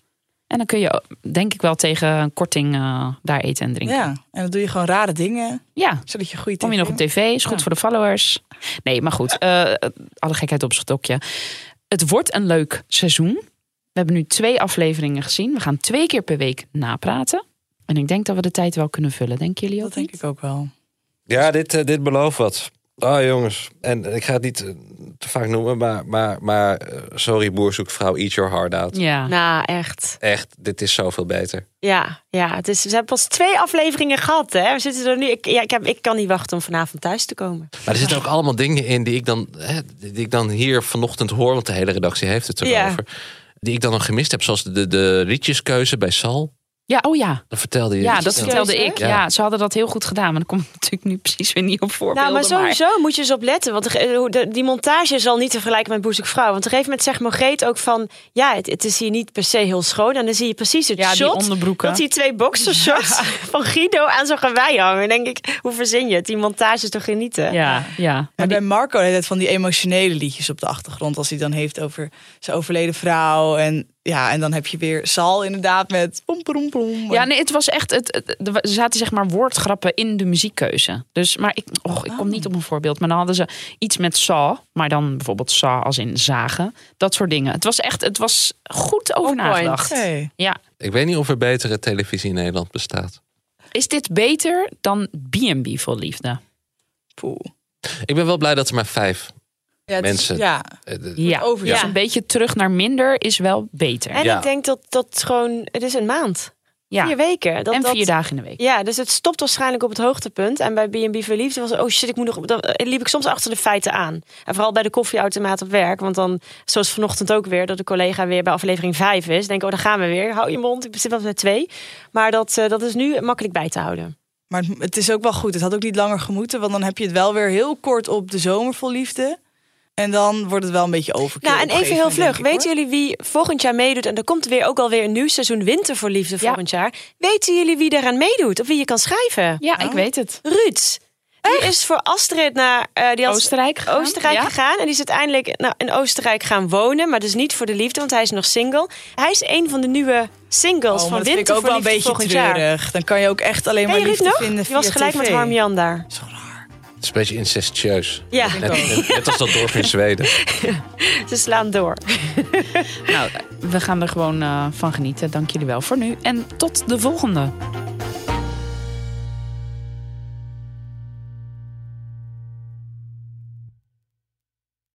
Speaker 3: En dan kun je eh, denk ik wel tegen een korting eh, daar eten en drinken.
Speaker 8: Ja, en dan doe je gewoon rare dingen,
Speaker 3: ja.
Speaker 8: zodat je goede
Speaker 3: Kom je nog op tv, is goed voor de followers. Nee, maar goed, eh, alle gekheid op zijn stokje. Het wordt een leuk seizoen. We hebben nu twee afleveringen gezien. We gaan twee keer per week napraten. En ik denk dat we de tijd wel kunnen vullen. Denken jullie ook?
Speaker 8: Dat denk ik ook wel.
Speaker 2: Ja, dit, eh, dit belooft wat. Oh jongens, en ik ga het niet eh, te vaak noemen, maar, maar, maar eh, sorry boer zoekt vrouw, eat your heart out.
Speaker 3: Ja.
Speaker 7: Nou, echt.
Speaker 2: Echt, dit is zoveel beter.
Speaker 7: Ja, ja. Het is, we hebben pas twee afleveringen gehad. Hè? We zitten er nu. Ik, ja, ik, heb, ik kan niet wachten om vanavond thuis te komen.
Speaker 2: Maar er zitten ook allemaal dingen in die ik dan, hè, die ik dan hier vanochtend hoor, want de hele redactie heeft het erover.
Speaker 7: Ja.
Speaker 2: Die ik dan nog gemist heb, zoals de, de liedjeskeuze bij Sal.
Speaker 3: Ja, oh ja.
Speaker 2: Dat vertelde je.
Speaker 3: Ja,
Speaker 2: iets.
Speaker 3: dat vertelde ik. Ja.
Speaker 2: Ja.
Speaker 3: ze hadden dat heel goed gedaan. Maar dat komt natuurlijk nu precies weer niet op voorbeelden.
Speaker 7: nou, maar sowieso moet je eens op letten. Want de- hoe de- die montage is al niet te vergelijken met Boezek Vrouw. Want op een gegeven moment zegt Margreet ook van... Ja, het, het is hier niet per se heel schoon. En dan zie je precies het
Speaker 3: Ja, die
Speaker 7: shot...
Speaker 3: onderbroeken.
Speaker 7: Dat die twee boxershorts van Guido aan zo'n gewei hangen. Dan denk ik, hoe verzin je het? Die montage is toch genieten?
Speaker 3: Ja, ja.
Speaker 8: En bij Marco heeft het van die emotionele liedjes op de achtergrond. Als hij dan heeft over zijn overleden vrouw. En, ja, en dan heb je weer Sal inderdaad met... Pom, pom, pom.
Speaker 3: Ja, nee, het was echt. Het, het- er wa- er zaten zeg maar woordgrappen in de muziekkeuze. Dus, maar ik, och, ik kom
Speaker 7: Oh.
Speaker 3: niet op een voorbeeld. Maar dan hadden ze iets met saw, maar dan bijvoorbeeld saw als in zagen. Dat soort dingen. Het was echt, het was goed over nagedacht.
Speaker 8: Hey.
Speaker 3: Ja.
Speaker 2: Ik weet niet of er betere televisie in Nederland bestaat.
Speaker 3: Is dit beter dan B&B voor liefde?
Speaker 2: Ik ben wel blij dat er maar vijf
Speaker 3: Ja, het is-
Speaker 2: mensen...
Speaker 3: ja.
Speaker 2: eh, de-
Speaker 3: Ja,
Speaker 2: over-
Speaker 3: dus
Speaker 2: ja.
Speaker 3: een beetje terug naar minder is wel beter.
Speaker 7: En ik denk dat dat gewoon... Het is een maand.
Speaker 3: Ja.
Speaker 7: Vier weken. Dat,
Speaker 3: en
Speaker 7: dat-
Speaker 3: vier dagen in de week.
Speaker 7: Ja, dus het stopt waarschijnlijk op het hoogtepunt. En bij B&B Verliefd was oh shit, ik moet nog... Dan eh, liep ik soms achter de feiten aan. En vooral bij de koffieautomaat op werk. Want dan, zoals vanochtend ook weer, dat de collega weer bij aflevering 5 is. Denk ik, oh, daar gaan we weer. Hou je mond, ik zit wel bij twee. Maar dat, eh, dat is nu makkelijk bij te houden.
Speaker 8: Maar het- het is ook wel goed. Het had ook niet langer gemoeten. Want dan heb je het wel weer heel kort op de zomer vol liefde. En dan wordt het wel een beetje overkill.
Speaker 7: Nou, en
Speaker 8: op een
Speaker 7: even
Speaker 8: gegeven
Speaker 7: heel
Speaker 8: moment,
Speaker 7: vlug.
Speaker 8: denk ik,
Speaker 7: Weten jullie wie volgend jaar meedoet? En er komt weer ook alweer een nieuw seizoen winter voor liefde volgend jaar. Weten jullie wie daaraan meedoet? Of wie je kan schrijven?
Speaker 3: Ja, ik weet het.
Speaker 7: Ruud. Die is voor Astrid naar eh, die had
Speaker 3: Oostenrijk gegaan,
Speaker 7: Oostenrijk
Speaker 3: ja.
Speaker 7: gegaan. En die is uiteindelijk nou, in Oostenrijk gaan wonen. Maar dus niet voor de liefde, want hij is nog single. Hij is een van de nieuwe
Speaker 8: hoor.
Speaker 7: singles
Speaker 8: Oh, maar
Speaker 7: van
Speaker 8: dat vind
Speaker 7: Winter
Speaker 8: ik ook
Speaker 7: voor
Speaker 8: wel een
Speaker 7: Liefde
Speaker 8: beetje
Speaker 7: volgend jaar.
Speaker 8: treurig. Dan kan je ook echt alleen maar
Speaker 7: Ken je Ruud
Speaker 8: liefde
Speaker 7: nog?
Speaker 8: vinden
Speaker 7: Die was
Speaker 8: via
Speaker 7: gelijk
Speaker 8: TV.
Speaker 7: met Harm Jan daar.
Speaker 2: Het is een beetje incestueus.
Speaker 7: Ja.
Speaker 2: Net, net- net als dat dorp in Zweden.
Speaker 7: Ze slaan door.
Speaker 3: Nou, we gaan er gewoon eh, van genieten. Dank jullie wel voor nu. En tot de volgende.